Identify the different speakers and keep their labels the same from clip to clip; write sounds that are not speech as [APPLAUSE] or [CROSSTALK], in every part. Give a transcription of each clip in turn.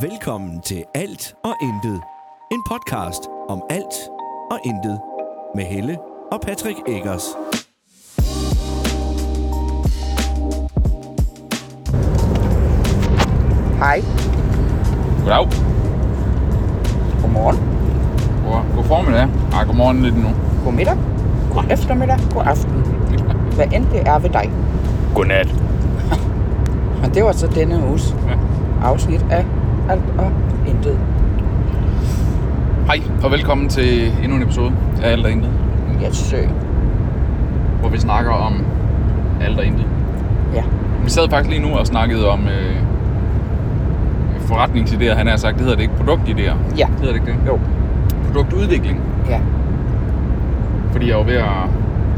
Speaker 1: Velkommen til Alt og Intet. En podcast om alt og intet. Med Helle og Patrick Eggers.
Speaker 2: Hej.
Speaker 3: Goddag.
Speaker 2: Godmorgen.
Speaker 3: God, god formiddag. Ej, godmorgen lidt nu.
Speaker 2: God middag. God eftermiddag. God aften. Hvad end det er ved dig.
Speaker 3: Godnat.
Speaker 2: Og det var så denne uges
Speaker 3: Ja.
Speaker 2: afsnit af Alt og Intet.
Speaker 3: Hej, og velkommen til endnu en episode af Alt og Intet,
Speaker 2: Yes, sø.
Speaker 3: hvor vi snakker om alt og intet.
Speaker 2: Ja.
Speaker 3: Vi sad faktisk lige nu og snakkede om øh, forretningsidéer, han har sagt. Det hedder det ikke produktidéer.
Speaker 2: Ja.
Speaker 3: Hedder det ikke det?
Speaker 2: Jo.
Speaker 3: Produktudvikling.
Speaker 2: Ja.
Speaker 3: Fordi jeg er jo ved at...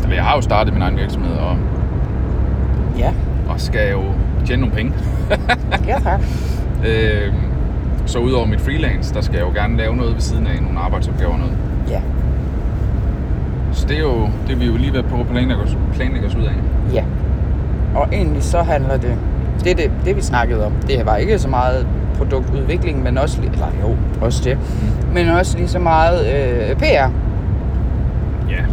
Speaker 3: Eller jeg har jo startet min egen virksomhed, og,
Speaker 2: Ja.
Speaker 3: og skal jo tjene nogle penge.
Speaker 2: Ja, tak.
Speaker 3: Øh, så udover mit freelance, der skal jeg jo gerne lave noget ved siden af, nogle arbejdsopgaver og noget.
Speaker 2: Ja.
Speaker 3: Så det er jo det, er vi jo lige ved på at planlægge os, planlægge os ud af.
Speaker 2: Ja. Og egentlig så handler det... Det, er det, det vi snakkede om, det var ikke så meget produktudvikling, men også... li- Eller jo, også det. Men også lige så meget øh, PR.
Speaker 3: Ja.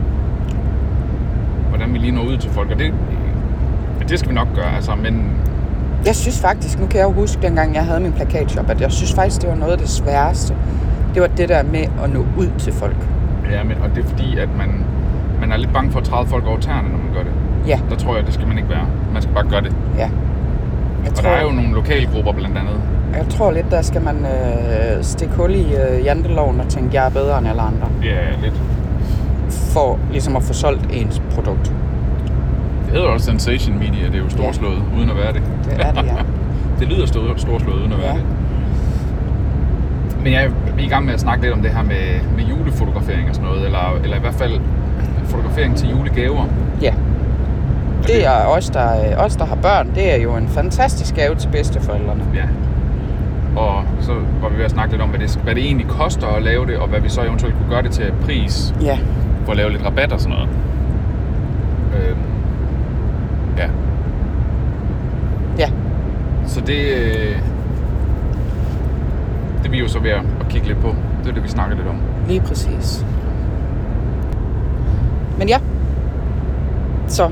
Speaker 3: Hvordan vi lige når ud til folk, og det, ja, det skal vi nok gøre, altså, men
Speaker 2: Jeg synes faktisk, nu kan jeg jo huske, dengang jeg havde min plakatshop, at jeg synes faktisk, det var noget af det sværeste. Det var det der med at nå ud til folk.
Speaker 3: Ja, men, og det er fordi, at man, man er lidt bange for at træde folk over tæerne, når man gør det.
Speaker 2: Ja,
Speaker 3: Der tror jeg, det skal man ikke være. Man skal bare gøre det.
Speaker 2: ja. Jeg
Speaker 3: Og
Speaker 2: tror,
Speaker 3: der er jo nogle lokale grupper blandt andet.
Speaker 2: jeg tror lidt, der skal man øh, stikke hul i øh, janteloven og tænke, jeg er bedre end alle andre.
Speaker 3: Ja, lidt.
Speaker 2: For ligesom at få solgt ens produkt.
Speaker 3: Det hedder også Sensation Media, det er jo storslået, ja. uden at være det.
Speaker 2: Det er det, ja.
Speaker 3: [LAUGHS] det lyder stor, storslået, uden at være
Speaker 2: Ja.
Speaker 3: ja. det. Men jeg er i gang med at snakke lidt om det her med, med julefotografering og sådan noget, eller, eller i hvert fald fotografering til julegaver.
Speaker 2: Ja. Det er os der, øh, os, der har børn. Det er jo en fantastisk gave til bedsteforældrene.
Speaker 3: Ja. Og så var vi ved at snakke lidt om, hvad det, hvad det egentlig koster at lave det, og hvad vi så eventuelt kunne gøre det til pris,
Speaker 2: Ja.
Speaker 3: for at lave lidt rabat og sådan noget. Øhm, ja.
Speaker 2: Ja.
Speaker 3: Så det, øh, det er vi jo så ved at at kigge lidt på. Det er det, vi snakker lidt om.
Speaker 2: Lige præcis. Men ja, så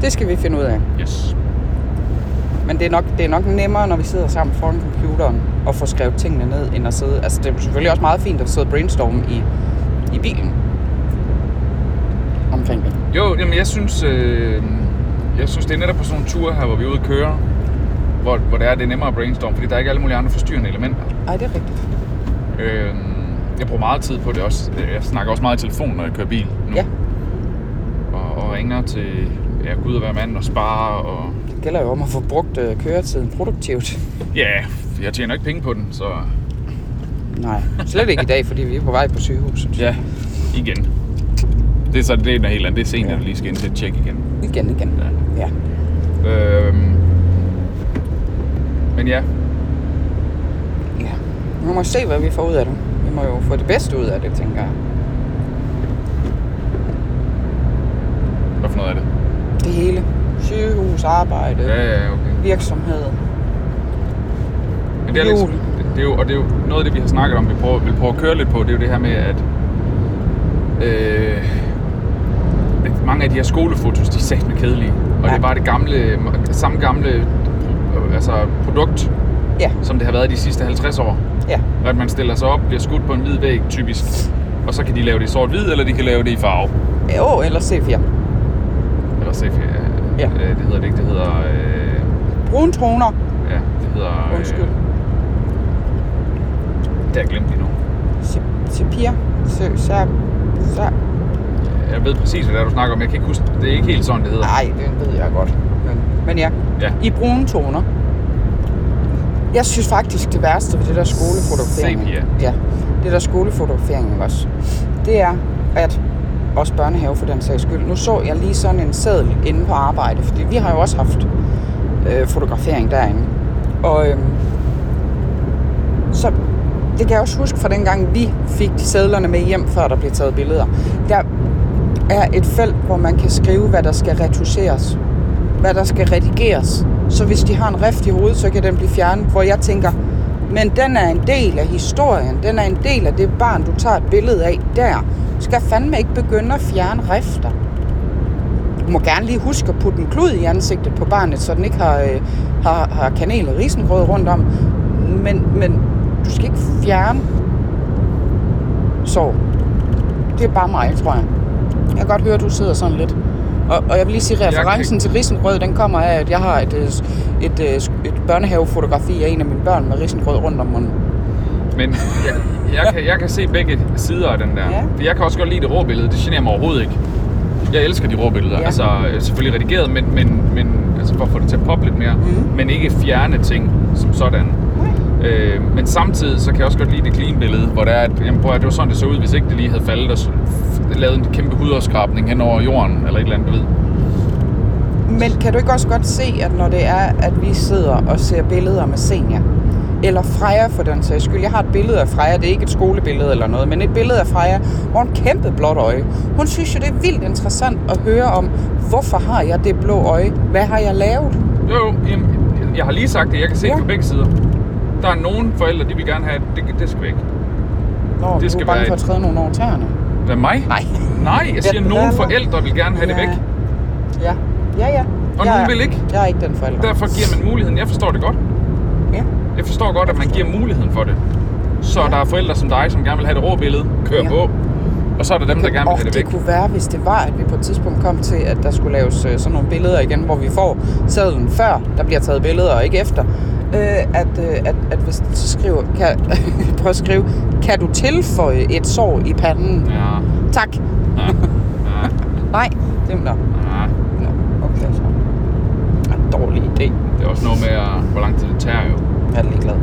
Speaker 2: det skal vi finde ud af.
Speaker 3: Yes.
Speaker 2: Men det er, nok, det er nok nemmere, når vi sidder sammen foran computeren og får skrevet tingene ned, end at sidde... Altså, det er selvfølgelig også meget fint at sidde og brainstorme i, i bilen omkring det.
Speaker 3: Jo, jamen jeg synes, øh, jeg synes, det er netop på sådan nogle ture her, hvor vi er ude at køre, hvor, hvor det er, det er nemmere at brainstorme, fordi der er ikke alle mulige andre forstyrrende elementer.
Speaker 2: Ej, det er rigtigt.
Speaker 3: Øh, jeg bruger meget tid på det også. Øh, Jeg snakker også meget i telefon, når jeg kører bil nu.
Speaker 2: Ja.
Speaker 3: Og, og ringer til ja, Gud og hver mand og sparer og
Speaker 2: Det gælder jo om at få brugt øh, køretiden produktivt.
Speaker 3: Ja, jeg tjener ikke penge på den, så
Speaker 2: Nej, slet ikke i dag, fordi vi er på vej på sygehuset.
Speaker 3: ja, igen. Det er så det, der helt andet. Det er sent,
Speaker 2: Ja.
Speaker 3: ja. at lige skal ind til et tjek igen.
Speaker 2: Igen, igen.
Speaker 3: Ja.
Speaker 2: Ja.
Speaker 3: Øhm, men ja,
Speaker 2: ja. Nu må vi se, hvad vi får ud af det. Vi må jo få det bedste ud af det, tænker jeg.
Speaker 3: hvad for noget af det?
Speaker 2: Det hele. Sygehus, arbejde,
Speaker 3: Ja, ja, okay.
Speaker 2: virksomhed.
Speaker 3: Men det er,
Speaker 2: Jul.
Speaker 3: lidt, det, det er jo, og det er jo noget af det, vi har snakket om, vi prøver, vil prøve at køre lidt på, det er jo det her med, at øh, at mange af de her skolefotos, de er satme kedelige. Og ja. det
Speaker 2: Ja.
Speaker 3: er bare det gamle, samme gamle øh, altså produkt,
Speaker 2: Ja,
Speaker 3: som det har været de sidste 50 år.
Speaker 2: ja,
Speaker 3: Og at man stiller sig op, bliver skudt på en hvid væg, typisk. Og så kan de lave det i sort-hvid, eller de kan lave det i farve.
Speaker 2: Jo, eller C4.
Speaker 3: Eller sefie.
Speaker 2: Ja.
Speaker 3: Øh, det hedder det ikke, det hedder... Øh,
Speaker 2: Brune toner.
Speaker 3: ja, det hedder... øh,
Speaker 2: Undskyld.
Speaker 3: det har jeg glemt lige nu.
Speaker 2: Se- Sepia. Se, ser, ser.
Speaker 3: Jeg ved præcis, hvad det er, du snakker om. Jeg kan ikke huske... Det er ikke helt sådan, det hedder.
Speaker 2: Nej, det ved jeg godt. Men, men ja,
Speaker 3: Ja.
Speaker 2: i brune toner. Jeg synes faktisk, det værste ved det der skolefotografering...
Speaker 3: Sepia.
Speaker 2: Ja, det der skolefotografering ikke også. Det er, at også børnehave for den sags skyld. Nu så jeg lige sådan en seddel inde på arbejde, fordi vi har jo også haft øh, fotografering derinde. Og øhm, så det kan jeg også huske fra dengang, vi fik sædlerne med hjem, før der blev taget billeder. Der er et felt, hvor man kan skrive, hvad der skal retuscheres, hvad der skal redigeres. Så hvis de har en rift i hovedet, så kan den blive fjernet, hvor jeg tænker, Men den er en del af historien. Den er en del af det barn, du tager et billede af der. Du skal fandme ikke begynde at fjerne rifter. Du må gerne lige huske at putte en klud i ansigtet på barnet, så den ikke har, øh, har, har kanel og risengrød rundt om. Men, men du skal ikke fjerne sår. Det er bare mig, tror jeg. Jeg kan godt høre, at du sidder sådan lidt. Og, og jeg vil lige sige, at
Speaker 3: Jeg kan
Speaker 2: referencen til risengrød, den kommer af, at jeg har et, øh, s- et, øh, s- et børnehavefotografi af en af mine børn med risengrød rundt om munden.
Speaker 3: Men jeg, jeg, kan, jeg kan se begge sider af den der.
Speaker 2: Ja.
Speaker 3: For Jeg kan også godt lide det rå billede. Det generer mig overhovedet ikke. Jeg elsker de rå billeder.
Speaker 2: Ja.
Speaker 3: Ja. Altså øh, selvfølgelig redigeret, men, men, men altså for at få det til at poppe lidt mere.
Speaker 2: Mhm.
Speaker 3: Men ikke fjerne ting som sådan. Øh, men samtidig så kan jeg også godt lide det clean billede, hvor der er, at, jamen, prøv at, høre, det var sådan, det så ud, hvis ikke det lige havde faldet og s- f- lavet en kæmpe hudafskrabning hen over jorden, eller et eller andet, du ved.
Speaker 2: Men kan du ikke også godt se, at når det er, at vi sidder og ser billeder med Senja, eller Freja for den sags skyld. Jeg har et billede af Freja, det er ikke et skolebillede eller noget, men et billede af Freja, hvor hun kæmpe blåt øje. Hun synes jo, det er vildt interessant at høre om, hvorfor har jeg det blå øje? Hvad har jeg lavet?
Speaker 3: Jo, jo, jamen, jeg har lige sagt det, jeg kan se
Speaker 2: Ja.
Speaker 3: ja. på begge sider. Der er nogle forældre, de vil gerne have, at det, det skal væk.
Speaker 2: Nå, det
Speaker 3: skal
Speaker 2: du er bange
Speaker 3: være
Speaker 2: for at
Speaker 3: et-
Speaker 2: træde nogen over tæerne.
Speaker 3: Hvad mig?
Speaker 2: Nej.
Speaker 3: Nej, jeg siger, at nogle
Speaker 2: driller.
Speaker 3: forældre vil gerne have det væk.
Speaker 2: Ja, ja, ja. jeg,
Speaker 3: Og nogen
Speaker 2: er-
Speaker 3: vil ikke.
Speaker 2: Jeg er ikke den forælder.
Speaker 3: Derfor giver man muligheden. Jeg forstår det godt.
Speaker 2: Ja.
Speaker 3: Jeg forstår godt, at man giver muligheden for det. Så der er forældre som dig, som gerne vil have det rå billede. Kør
Speaker 2: Ja.
Speaker 3: ja. på. Og så er der dem, der gerne vil
Speaker 2: Og
Speaker 3: have
Speaker 2: det,
Speaker 3: det væk.
Speaker 2: kunne være, hvis det var, at vi på et tidspunkt kom til, at der skulle laves øh, sådan nogle billeder igen, hvor vi får sædlen før, der bliver taget billeder, og ikke efter. Øh, at, øh, at, at hvis så skriver, kan, [LAUGHS] prøv at skrive, kan du tilføje et sår i panden?
Speaker 3: Ja.
Speaker 2: Tak.
Speaker 3: Ja. Ja.
Speaker 2: Nej, det er nå.
Speaker 3: Ja.
Speaker 2: Nå, Okay, så. Ja, Dårlig idé.
Speaker 3: Det er også noget med, at, hvor lang tid det tager jo.
Speaker 2: Jeg er ligeglad.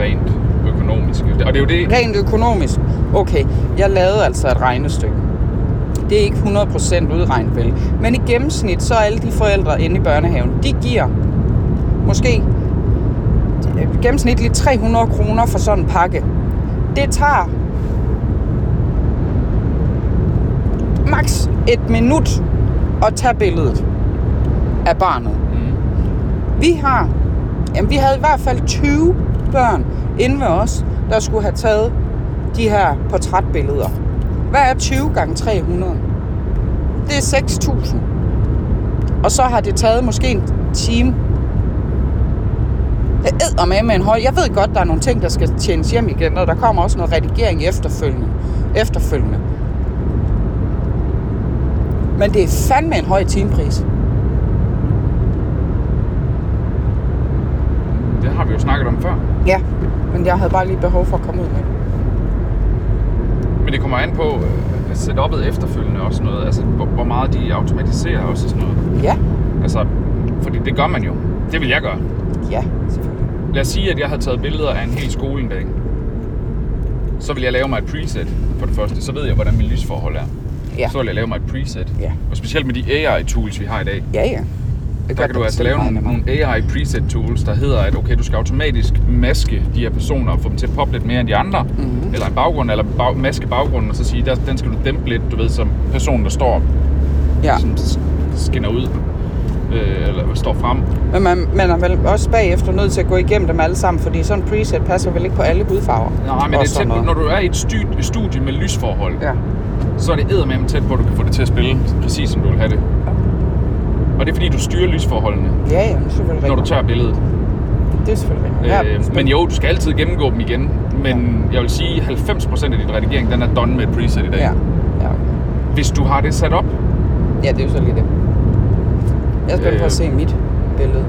Speaker 3: Rent økonomisk. Og det er jo det.
Speaker 2: Rent økonomisk. Okay, jeg lavede altså et regnestykke. Det er ikke 100% udregnet vel. Men i gennemsnit, så er alle de forældre inde i børnehaven, de giver måske øh, gennemsnitligt 300 kroner for sådan en pakke. Det tager maks et minut at tage billedet af barnet.
Speaker 3: Mm.
Speaker 2: Vi har, jamen vi havde i hvert fald 20 børn inde ved os, der skulle have taget de her portrætbilleder. Hvad er 20 gange 300? Det er 6.000. Og så har det taget måske en time. Det æder med med en høj. Jeg ved godt, der er nogle ting, der skal tjenes hjem igen, og der kommer også noget redigering efterfølgende. efterfølgende. Men det er fandme en høj timepris.
Speaker 3: Det har vi jo snakket om før.
Speaker 2: Ja, men jeg havde bare lige behov for at komme ud med det.
Speaker 3: Men det kommer an på øh, setup'et efterfølgende og sådan noget. Altså, hvor, hvor meget de automatiserer også og sådan noget.
Speaker 2: Ja,
Speaker 3: Altså, fordi det gør man jo. Det vil jeg gøre.
Speaker 2: ja, selvfølgelig.
Speaker 3: Lad os sige, at jeg havde taget billeder af en hel skole en dag. Så vil jeg lave mig et preset for det første. Så ved jeg, hvordan min lysforhold er.
Speaker 2: Ja.
Speaker 3: Så vil jeg lave mig et preset.
Speaker 2: Ja.
Speaker 3: Og specielt med de AI-tools, vi har i dag.
Speaker 2: Ja, ja. Det
Speaker 3: Der kan du altså lave nogle, nogle AI preset tools, der hedder, at okay, du skal automatisk maske de her personer og få dem til at poppe lidt mere end de andre. Mm-hmm.
Speaker 2: Mhm.
Speaker 3: Eller en baggrund, eller bag, maske baggrunden, og så sige, der, den skal du dæmpe lidt, du ved, som personen, der står,
Speaker 2: Ja,
Speaker 3: som s- skinner ud, øh, eller står frem.
Speaker 2: men man, man er vel også bagefter nødt til at gå igennem dem alle sammen, fordi sådan en preset passer vel ikke på alle hudfarver.
Speaker 3: Nej, men
Speaker 2: Og
Speaker 3: det er
Speaker 2: sådan
Speaker 3: tæt på,
Speaker 2: noget.
Speaker 3: når du er i et studie, studie med lysforhold,
Speaker 2: Ja.
Speaker 3: så er det eddermame tæt på, at du kan få det til at spille, præcis som du vil have det. Og det er fordi, du styrer lysforholdene,
Speaker 2: Ja, ja, men selvfølgelig
Speaker 3: når du
Speaker 2: rigtigt.
Speaker 3: tør billedet.
Speaker 2: Det er selvfølgelig rigtigt. Ja,
Speaker 3: Øh, men jo, du skal altid gennemgå dem igen. Men jeg vil sige, 90% af din redigering, den er done med et preset i dag.
Speaker 2: Ja, ja, okay.
Speaker 3: Hvis du har det sat op.
Speaker 2: ja det er jo så lige det. Jeg skal øh.
Speaker 3: Øh.
Speaker 2: på at se mit billede.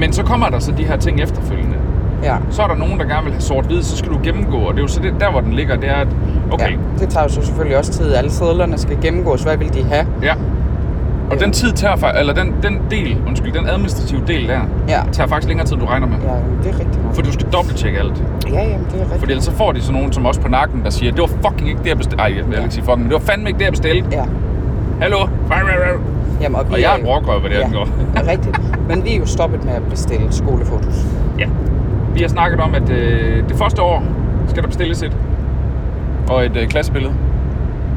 Speaker 3: Men så kommer der så de her ting efterfølgende.
Speaker 2: Ja.
Speaker 3: Så er der nogen, der gerne vil have sort-hvid, så skal du gennemgå. Og det er jo så det, der, hvor den ligger, det er, at okay,
Speaker 2: ja. Det tager jo så selvfølgelig også tid. Alle sædlerne skal gennemgås. Hvad vil de have?
Speaker 3: ja. ja. Og
Speaker 2: Ja.
Speaker 3: den tid tager fa- eller den, den del, undskyld, den administrative del der,
Speaker 2: Ja.
Speaker 3: tager faktisk længere tid, end du regner med.
Speaker 2: Ja, jamen, det er rigtigt nok.
Speaker 3: For du skal dobbelttjekke alt.
Speaker 2: Ja, jamen, det er rigtigt.
Speaker 3: Fordi ellers så får de sådan nogen som også på nakken, der siger, det var fucking ikke det, jeg bestilte. Ej, jeg vil ikke sige fucking, men det var fandme ikke det, jeg bestilte.
Speaker 2: Ja.
Speaker 3: Hallo?
Speaker 2: Jamen, og, vi
Speaker 3: Og jeg er
Speaker 2: jo-
Speaker 3: en brokrøv, hvad det
Speaker 2: ja. [LAUGHS]
Speaker 3: angår.
Speaker 2: rigtigt. Men vi er jo stoppet med at bestille skolefotos.
Speaker 3: Ja. Vi har snakket om, at øh, det første år skal der bestilles et. Og et øh, klassebillede.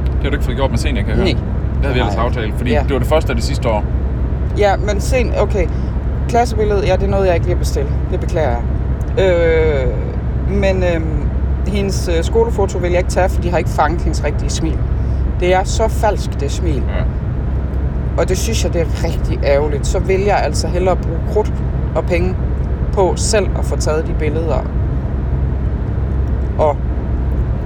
Speaker 3: Det har du ikke fået gjort med senior, kan jeg høre.
Speaker 2: Nej.
Speaker 3: Det havde vi ellers
Speaker 2: Nej.
Speaker 3: aftalt, fordi
Speaker 2: Ja.
Speaker 3: ja. det var det første og det sidste år.
Speaker 2: Ja, men sen, okay. Klassebilledet, ja, det er noget, jeg ikke lige bestille. Det beklager jeg. Øh, men øh, hendes øh, skolefoto vil jeg ikke tage, for de har ikke fanget hendes rigtige smil. Det er så falsk, det smil.
Speaker 3: Ja.
Speaker 2: Og det synes jeg, det er rigtig ærgerligt. Så vil jeg altså hellere bruge krudt og penge på selv at få taget de billeder. Og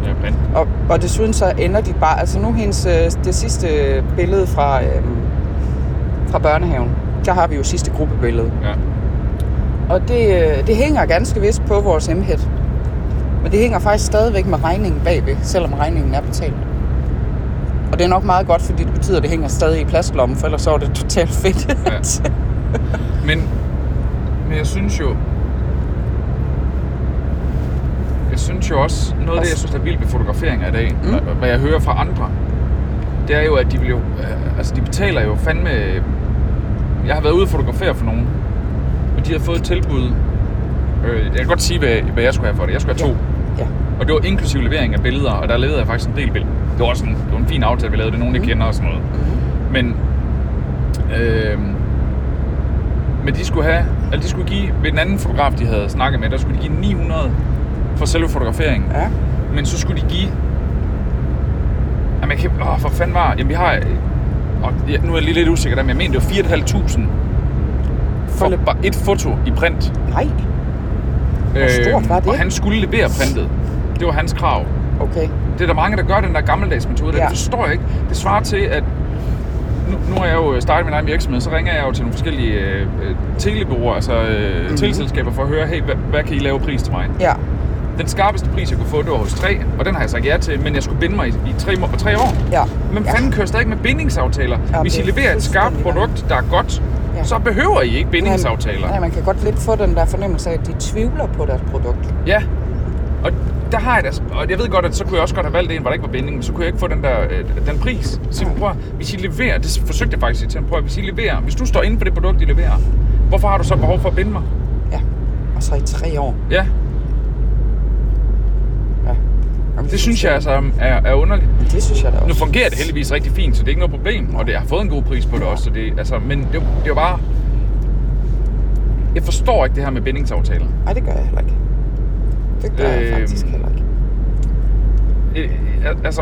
Speaker 3: Ja, men
Speaker 2: og, og desuden så ender de bare... Altså nu hendes, øh, det sidste billede fra, øhm, fra børnehaven, der har vi jo sidste gruppebillede.
Speaker 3: ja.
Speaker 2: Og det, øh, det hænger ganske vist på vores emhed. Men det hænger faktisk stadigvæk med regningen bagved, selvom regningen er betalt. Og det er nok meget godt, fordi det betyder, at det hænger stadig i plastlommen, for ellers så er det totalt fedt.
Speaker 3: Ja. Men, men jeg synes jo... Jeg synes jo også, noget af det, jeg synes er vildt ved fotograferinger i dag, mm. hvad, hvad jeg hører fra andre, det er jo, at de, vil jo, øh, altså, de betaler jo fandme... Jeg har været ude og fotografere for nogen, og de har fået et tilbud. Øh, jeg kan godt sige, hvad, hvad jeg skulle have for det. Jeg skulle have to.
Speaker 2: [LAUGHS] ja.
Speaker 3: Og det var inklusiv levering af billeder, og der levede jeg faktisk en del billeder. Det var også en, det var en fin aftale, vi lavede. Det er nogen,
Speaker 2: Mhm.
Speaker 3: jeg kender og sådan noget. Men, øh, men de skulle have, eller de skulle give, ved den anden fotograf, de havde snakket med, der skulle de give 900 for selve fotograferingen.
Speaker 2: ja.
Speaker 3: Men så skulle de give... Jamen, jeg kan... Åh, for fanden var... Jamen, vi har... Og ja, nu er jeg lige lidt usikker der, men jeg mener, det var 4.500 for
Speaker 2: le-
Speaker 3: bare et foto i print. Øhm,
Speaker 2: Nej, stort var det?
Speaker 3: Og han skulle levere printet. Det var hans krav.
Speaker 2: okay.
Speaker 3: Det er der mange, der gør den der gammeldags metode. Ja.
Speaker 2: Ja.
Speaker 3: Det forstår jeg ikke. Det svarer til, at nu, nu har jeg jo øh, startet min egen virksomhed, så ringer jeg jo til nogle forskellige øh, øh, telebureauer, altså øh,
Speaker 2: Mhm.
Speaker 3: mm-hmm. teleselskaber, for at høre, hey, hvad, hvad kan I lave pris til mig?
Speaker 2: Ja,
Speaker 3: Den skarpeste pris, jeg kunne få, det var hos 3, og den har jeg sagt ja til, men jeg skulle binde mig i, i tre, må- tre år.
Speaker 2: ja.
Speaker 3: Men
Speaker 2: ja.
Speaker 3: fanden kører stadig med bindingsaftaler.
Speaker 2: Ja,
Speaker 3: Hvis I
Speaker 2: det er
Speaker 3: leverer et skarpt
Speaker 2: fuldstændig
Speaker 3: produkt, der er godt,
Speaker 2: Ja.
Speaker 3: ja. så behøver I ikke bindingsaftaler.
Speaker 2: Nej, man kan godt lidt få den der fornemmelse af, at de tvivler på deres produkt.
Speaker 3: Ja, og der har jeg da, og jeg ved godt, at så kunne jeg også godt have valgt en, hvor der ikke var binding, men så kunne jeg ikke få den der, øh, den pris. Så jeg, prøv, at- hvis I leverer, det forsøgte jeg faktisk at sige til ham, prøv, at- hvis I leverer, hvis du står inde for det produkt, I leverer, hvorfor har du så behov for at binde mig?
Speaker 2: Ja, og så i tre år.
Speaker 3: Ja,
Speaker 2: Ja. Jamen,
Speaker 3: det synes jeg altså er, er underligt.
Speaker 2: Det synes jeg da også.
Speaker 3: Nu fungerer det heldigvis rigtig fint, så det er ikke noget problem, og det, jeg har fået en god pris på det også, så det, altså, men det, det er jo bare, jeg forstår ikke det her med bindingsaftaler.
Speaker 2: Nej, det gør jeg heller ikke. Det gør øhm... jeg
Speaker 3: Øhm.
Speaker 2: faktisk heller ikke.
Speaker 3: Øh, al- altså,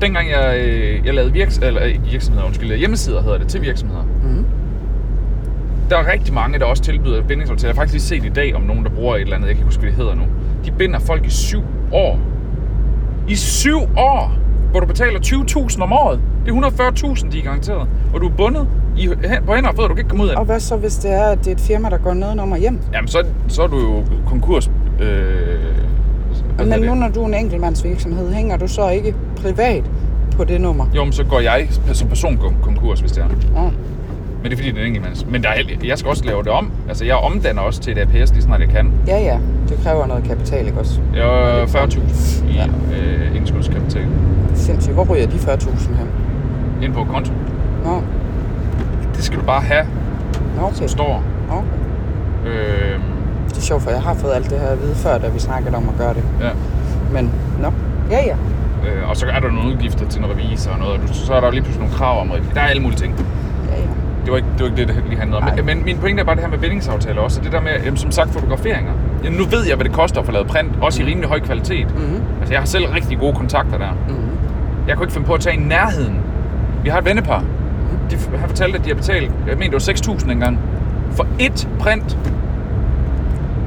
Speaker 3: dengang jeg, øh, jeg lavede virks eller, ikke virksomheder, undskyld, øh, hjemmesider hedder det, til virksomheder. Mm.
Speaker 2: Mhm.
Speaker 3: Der er rigtig mange, der også tilbyder bindingsaftaler. Jeg har faktisk lige set i dag om nogen, der bruger et eller andet, jeg kan ikke huske, hvad det hedder nu. De binder folk i syv år. I syv år, hvor du betaler 20.000 om året. Det er 140.000, de er garanteret. Og du er bundet i, hæ- på hænder og fødder, du kan ikke komme ud af
Speaker 2: Og
Speaker 3: det.
Speaker 2: hvad så, hvis det er, at det er et firma, der går nedenom og hjem?
Speaker 3: Jamen, så, så er du jo konkurs... Øh, hvad hedder
Speaker 2: Men
Speaker 3: det?
Speaker 2: nu, når du er en enkeltmandsvirksomhed, hænger du så ikke privat på det nummer?
Speaker 3: Jo, men så går jeg som person kon- konkurs, hvis det er.
Speaker 2: Mm.
Speaker 3: Men det er fordi, det er en enkeltmands. Men der er, held- jeg skal også lave det om. Altså, jeg omdanner også til et APS, lige snart jeg kan.
Speaker 2: Ja, ja. Det kræver noget kapital, ikke også?
Speaker 3: Jeg har 40.000 i
Speaker 2: Ja.
Speaker 3: øh, indskudskapital.
Speaker 2: Sindssygt. Hvor ryger de 40.000 hen?
Speaker 3: Ind på konto.
Speaker 2: Nå,
Speaker 3: Det skal du bare have,
Speaker 2: nå okay.
Speaker 3: står.
Speaker 2: Nå.
Speaker 3: Øh,
Speaker 2: Det er sjovt, for jeg har fået alt det her at vide før, da vi snakkede om at gøre det.
Speaker 3: ja.
Speaker 2: Men, nå. Ja, ja.
Speaker 3: Øh, og så er der nogle udgifter til noget revisor og noget. Og du, så er der jo lige pludselig nogle krav om revisor. Der er alle mulige ting.
Speaker 2: Ja, ja.
Speaker 3: Det var ikke det, var ikke det, det lige handlede om.
Speaker 2: Nej.
Speaker 3: Men, men min pointe er bare det her med bindingsaftale også. og Det der med, jamen, som sagt, fotograferinger. Jamen, nu ved jeg, hvad det koster at få lavet print. Også
Speaker 2: Mm.
Speaker 3: i rimelig høj kvalitet.
Speaker 2: Mhm.
Speaker 3: Altså, jeg har selv rigtig gode kontakter der.
Speaker 2: Mhm.
Speaker 3: Jeg kunne ikke finde på at tage i nærheden. Vi har et vennepar.
Speaker 2: Mm-hmm.
Speaker 3: De, han fortalte, at de har betalt, jeg mener, det var 6.000 engang, for ét print.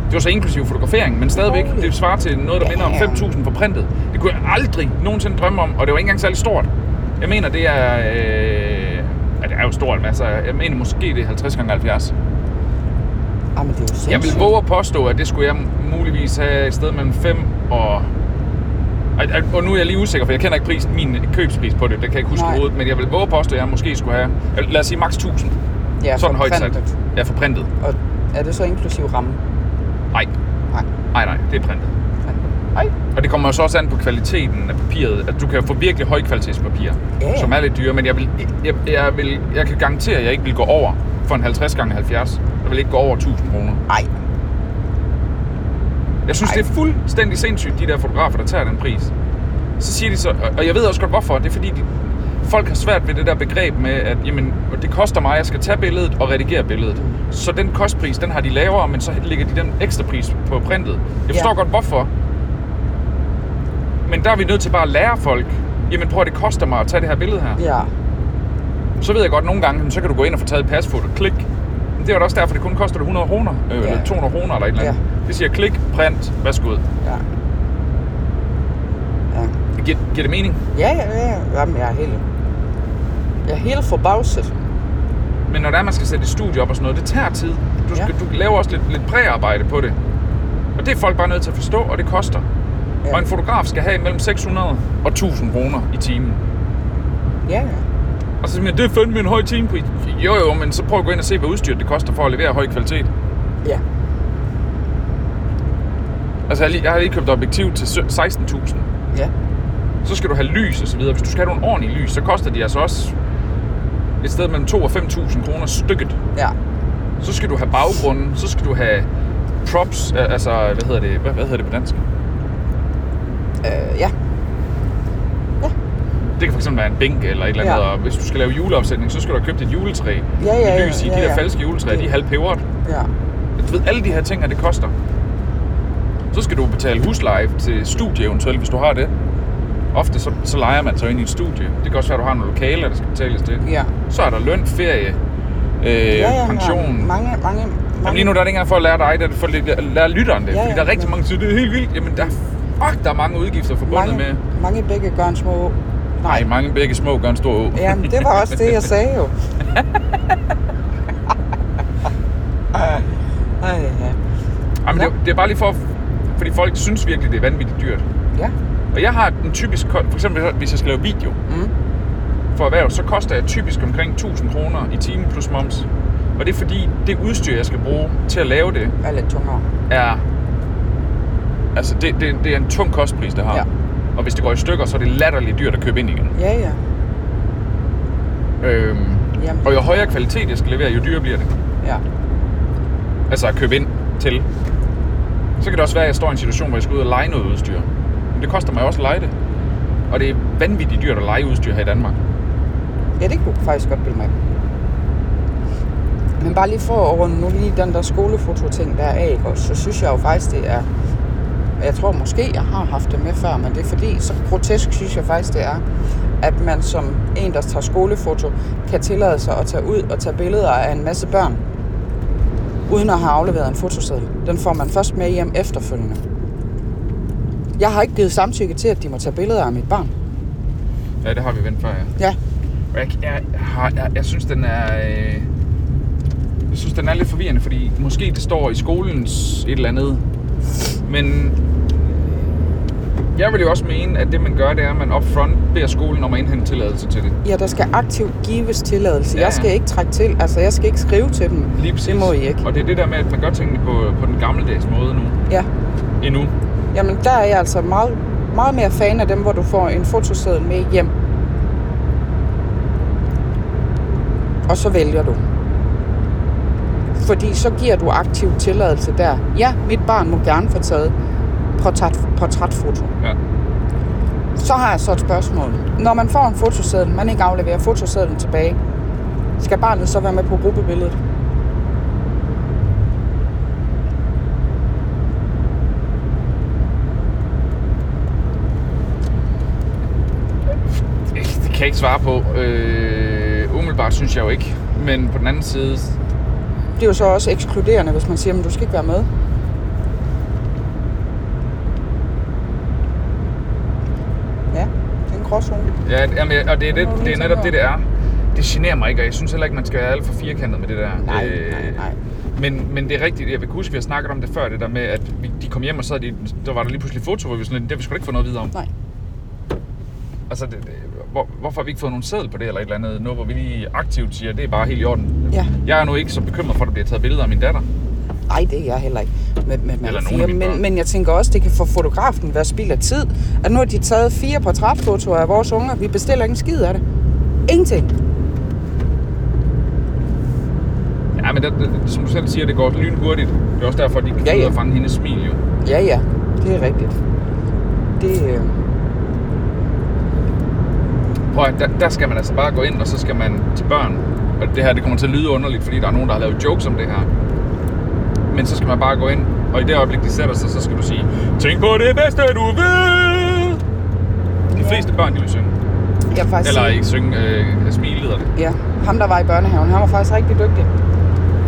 Speaker 3: Det var så inklusive fotografering, men stadigvæk,
Speaker 2: Holy.
Speaker 3: det svarer til noget, der minder om
Speaker 2: Damn.
Speaker 3: 5.000 for printet. Det kunne jeg aldrig nogensinde drømme om, og det var ikke engang særlig stort. Jeg mener, det er... Øh, ja, det er jo stort, men altså, jeg mener måske, det er 50 gange 70.
Speaker 2: Ah, men det er jo sindssygt.
Speaker 3: Jeg vil våge at påstå, at det skulle jeg muligvis have et sted mellem 5 og... Ej, ej, Og nu er jeg lige usikker, for jeg kender ikke prisen, min købspris på det, det kan jeg ikke huske
Speaker 2: Nej.
Speaker 3: overhovedet, men jeg vil våge at påstå, at jeg måske skulle have, eller lad os sige, maks 1000,
Speaker 2: ja,
Speaker 3: sådan
Speaker 2: for
Speaker 3: højt sat.
Speaker 2: printet.
Speaker 3: Ja, for printet.
Speaker 2: Og er det så inklusiv ramme?
Speaker 3: Nej,
Speaker 2: Nej.
Speaker 3: nej, nej, det er printet.
Speaker 2: Nej.
Speaker 3: Og det kommer jo så også an på kvaliteten af papiret, at du kan få virkelig højkvalitetspapir,
Speaker 2: Ja, ja.
Speaker 3: som er lidt dyre, men jeg, vil, jeg, jeg, vil, jeg kan garantere, at jeg ikke vil gå over for en 50 gange 70. Jeg vil ikke gå over 1000 kroner.
Speaker 2: Nej.
Speaker 3: Jeg synes,
Speaker 2: Ej.
Speaker 3: Ej. det er fuldstændig sindssygt, de der fotografer, der tager den pris. Så siger de så, og- og jeg ved også godt hvorfor, det er fordi, de, folk har svært ved det der begreb med, at jamen, det koster mig, at jeg skal tage billedet og redigere billedet. Så den kostpris, den har de lavere, men så lægger de den ekstra pris på printet. Jeg forstår
Speaker 2: Ja.
Speaker 3: godt, hvorfor. Men der er vi nødt til bare at lære folk, jamen prøv at det koster mig at tage det her billede her.
Speaker 2: Ja,
Speaker 3: Så ved jeg godt, nogle gange, så kan du gå ind og få taget et pasfoto. Klik. Men Det er jo da også derfor, det kun koster det 100 kroner, øh,
Speaker 2: Ja.
Speaker 3: eller 200 kroner eller et eller andet. Det siger klik, print, værsgo ud.
Speaker 2: ja. Ja.
Speaker 3: Giver, giver det mening?
Speaker 2: Ja, ja, ja. Jamen, jeg er helt... Jeg er helt forbavset.
Speaker 3: Men når der er, man skal sætte et studie op og sådan noget, det tager tid. Du, skal,
Speaker 2: Ja.
Speaker 3: ja. du laver også lidt, lidt præarbejde på det. Og det er folk bare nødt til at forstå, og det koster.
Speaker 2: Ja.
Speaker 3: Ja. Og en fotograf skal have mellem 600 og 1000 kroner i timen.
Speaker 2: Ja, ja.
Speaker 3: Og så siger man, det er fandme en høj timepris. Jo jo, men så prøv at gå ind og se, hvad udstyret det koster for at levere høj kvalitet.
Speaker 2: Ja.
Speaker 3: Altså, jeg har lige, jeg har lige købt objektiv til sø- 16.000.
Speaker 2: Ja.
Speaker 3: Så skal du have lys og så videre. Hvis du skal have nogle ordentlige lys, så koster de altså også et sted mellem 2 og 5.000 kroner stykket.
Speaker 2: Ja.
Speaker 3: Så skal du have baggrunden, så skal du have props, øh, altså, hvad hedder det, hvad, hvad hedder det på dansk?
Speaker 2: Øh, ja.
Speaker 3: Det kan fx være en bænk eller et eller andet,
Speaker 2: Ja.
Speaker 3: ja. og hvis du skal lave juleopsætning, så skal du have købt et juletræ.
Speaker 2: ja, ja,
Speaker 3: lys i,
Speaker 2: ja,
Speaker 3: de der
Speaker 2: ja.
Speaker 3: falske juletræer,
Speaker 2: Det-
Speaker 3: de er halvpeberet.
Speaker 2: Ja.
Speaker 3: Du ved, alle de her ting, her, det koster. Så skal du betale husleje til studie eventuelt, hvis du har det. Ofte så, så leger man sig ind i et studie. Det kan også være, at du har nogle lokaler, der skal betales til.
Speaker 2: Ja.
Speaker 3: Så er der løn, ferie, øh,
Speaker 2: ja, ja,
Speaker 3: pension.
Speaker 2: Ja. Mange, mange, mange...
Speaker 3: Jamen lige nu der er det ikke engang for at lære dig, det er for at lære lytteren det.
Speaker 2: Ja,
Speaker 3: Ja,
Speaker 2: ja,
Speaker 3: ja, fordi der er rigtig
Speaker 2: men-
Speaker 3: mange, der siger, det er helt vildt. Jamen der, er- fuck, der er mange udgifter forbundet
Speaker 2: mange,
Speaker 3: med...
Speaker 2: mange begge gør en små...
Speaker 3: Nej, mange begge små gør en stor å.
Speaker 2: Jamen, det var også det, jeg sagde
Speaker 3: [LAUGHS]
Speaker 2: jo. Ej, ja.
Speaker 3: Jamen, det, det er bare lige for... Fordi folk synes virkelig, det er vanvittigt dyrt.
Speaker 2: Ja.
Speaker 3: Og jeg har en typisk... ko- For eksempel, hvis jeg skal lave video
Speaker 2: Mm.
Speaker 3: for erhverv, så koster jeg typisk omkring 1000 kroner i timen plus moms. Og det er fordi, det udstyr, jeg skal bruge til at lave det,
Speaker 2: Er lidt tungere.
Speaker 3: er... Altså, det, det, det er en tung kostpris, det har.
Speaker 2: Ja.
Speaker 3: Og hvis det går i stykker, så er det latterligt dyrt at købe ind igen.
Speaker 2: Ja, ja.
Speaker 3: Øhm,
Speaker 2: Jamen,
Speaker 3: og jo højere kvalitet jeg skal levere, jo dyrere bliver det.
Speaker 2: ja.
Speaker 3: Altså at købe ind til. Så kan det også være, at jeg står i en situation, hvor jeg skal ud og lege noget udstyr. Men det koster mig også at lege det. Og det er vanvittigt dyrt at lege udstyr her i Danmark.
Speaker 2: Ja, det kunne jeg faktisk godt bilde mig. ind. Men bare lige for at runde nu lige den der skolefoto-ting der af, ikke også, så synes jeg jo faktisk, det er... Jeg tror måske, jeg har haft det med før, men det er fordi, så grotesk synes jeg faktisk, det er, at man som en, der tager skolefoto, kan tillade sig at tage ud og tage billeder af en masse børn, uden at have afleveret en fotoseddel. Den får man først med hjem efterfølgende. Jeg har ikke givet samtykke til, at de må tage billeder af mit barn.
Speaker 3: Ja, det har vi vendt før, ja.
Speaker 2: Ja,
Speaker 3: Og jeg, jeg, har, jeg, jeg synes, den er... Øh, jeg synes, den er lidt forvirrende, fordi måske det står i skolens et eller andet. Men jeg vil jo også mene, at det man gør, det er, at man upfront beder skolen om at indhente tilladelse til det.
Speaker 2: Ja, der skal aktivt gives tilladelse. Ja, ja.
Speaker 3: Ja, ja.
Speaker 2: Jeg skal ikke trække til, altså jeg skal ikke skrive til dem.
Speaker 3: Lige præcis.
Speaker 2: Det må I ikke.
Speaker 3: Og det er det der med, at man gør tingene på, på den gammeldags måde nu.
Speaker 2: Ja.
Speaker 3: Endnu.
Speaker 2: Jamen, der er jeg altså meget, meget mere fan af dem, hvor du får en fotoseddel med hjem. Og så vælger du. Fordi så giver du aktiv tilladelse der. Ja, mit barn må gerne få taget portræt, portrætfoto.
Speaker 3: Ja.
Speaker 2: Så har jeg så et spørgsmål. Når man får en fotoseddel, man ikke afleverer fotosedlen tilbage, skal barnet så være med på gruppebilledet?
Speaker 3: Det kan jeg ikke svare på. Øh, umiddelbart synes jeg jo ikke. Men på den anden side...
Speaker 2: Det er jo så også ekskluderende, hvis man siger, at du skal ikke være med. Ja, det er en gråzone.
Speaker 3: Ja, jamen, jeg- og det er, det,
Speaker 2: Må du
Speaker 3: det er
Speaker 2: tænke
Speaker 3: netop
Speaker 2: over.
Speaker 3: det, det er. Det generer mig ikke, og jeg synes heller ikke, man skal være alt for firkantet med det der. Øh,
Speaker 2: Nej, nej, nej.
Speaker 3: Men, men det er rigtigt. Jeg kan huske, vi har snakket om det før, det der med, at vi, de kom hjem, og så havde de, der var der lige pludselig et foto, hvor vi var sådan, lidt, det har vi sgu da ikke fået noget videre om.
Speaker 2: Nej.
Speaker 3: Altså, det, det, hvor, hvorfor har vi ikke fået nogen sædel på det eller et eller andet? Nu hvor vi lige aktivt siger, det er bare helt i orden.
Speaker 2: Ja.
Speaker 3: Jeg er nu ikke så bekymret for, at der bliver taget billeder af min datter.
Speaker 2: Nej, det er jeg heller ikke. Med, med, med
Speaker 3: Eller nogen
Speaker 2: fire.
Speaker 3: af mine
Speaker 2: men,
Speaker 3: børn.
Speaker 2: men jeg tænker også, det kan for fotografen være spild af tid. At nu har de taget fire portrætfotoer af vores unger. Vi bestiller ikke en skid af det. Ingenting.
Speaker 3: Ja, men det, det, som du selv siger, det går lynhurtigt. Det er også derfor, at de kan
Speaker 2: Ja,
Speaker 3: ja,
Speaker 2: ja.
Speaker 3: ja. fange hendes smil, jo.
Speaker 2: Ja, ja. Det er rigtigt. Det, øh...
Speaker 3: Og der, der skal man altså bare gå ind, og så skal man til børn. Og det her, det kommer til at lyde underligt, fordi der er nogen, der har lavet jokes om det her. Men så skal man bare gå ind, og i det øjeblik, de sætter sig, så skal du sige, Tænk på det bedste, du ved! De fleste børn, de vil synge.
Speaker 2: Jeg vil faktisk
Speaker 3: Eller
Speaker 2: sige-
Speaker 3: ikke synge, øh, smile hedder det.
Speaker 2: Ja, ham der var i børnehaven, han var faktisk rigtig dygtig.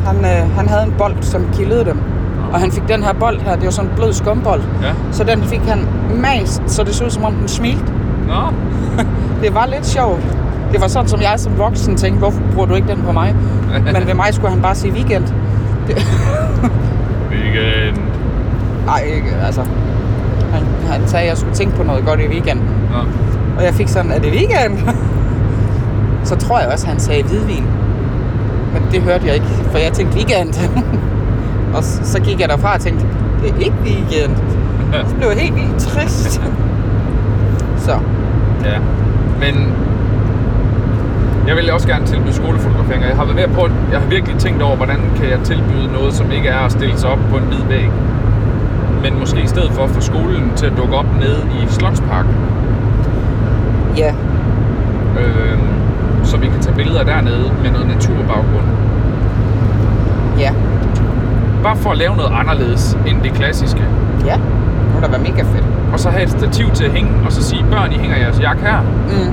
Speaker 2: Han, øh, han havde en bold, som kildede dem. Og han fik den her bold her, det var sådan en blød skumbold.
Speaker 3: Ja.
Speaker 2: Så den fik han mast, så det så ud som om den smilte.
Speaker 3: Nå,
Speaker 2: Det var lidt sjovt. Det var sådan, som jeg som voksen tænkte, hvorfor bruger du ikke den på mig? Men ved mig skulle han bare sige weekend.
Speaker 3: weekend.
Speaker 2: Nej, ikke, altså. Han, han sagde, at jeg skulle tænke på noget godt i weekenden.
Speaker 3: Nå.
Speaker 2: Og jeg fik sådan, er det weekend? [LAUGHS] så tror jeg også, han sagde hvidvin. Men det hørte jeg ikke, for jeg tænkte weekend. [LAUGHS] og s- så gik jeg derfra og tænkte, det er ikke weekend.
Speaker 3: [LAUGHS]
Speaker 2: Så blev jeg helt vildt trist. [LAUGHS] så,
Speaker 3: Ja. Men jeg vil også gerne tilbyde skolefotografering, og jeg har været ved at prøve, jeg har virkelig tænkt over, hvordan kan jeg tilbyde noget, som ikke er at stille sig op på en hvid væg. Men måske i stedet for at få skolen til at dukke op nede i Slotsparken,
Speaker 2: ja.
Speaker 3: øh, så vi kan tage billeder dernede med noget naturbaggrund.
Speaker 2: Ja.
Speaker 3: Bare for at lave noget anderledes end det klassiske.
Speaker 2: Ja. Det må da være mega fedt.
Speaker 3: Og så have et stativ til at hænge, og så sige, børn, I hænger jeres jakke her.
Speaker 2: Mm.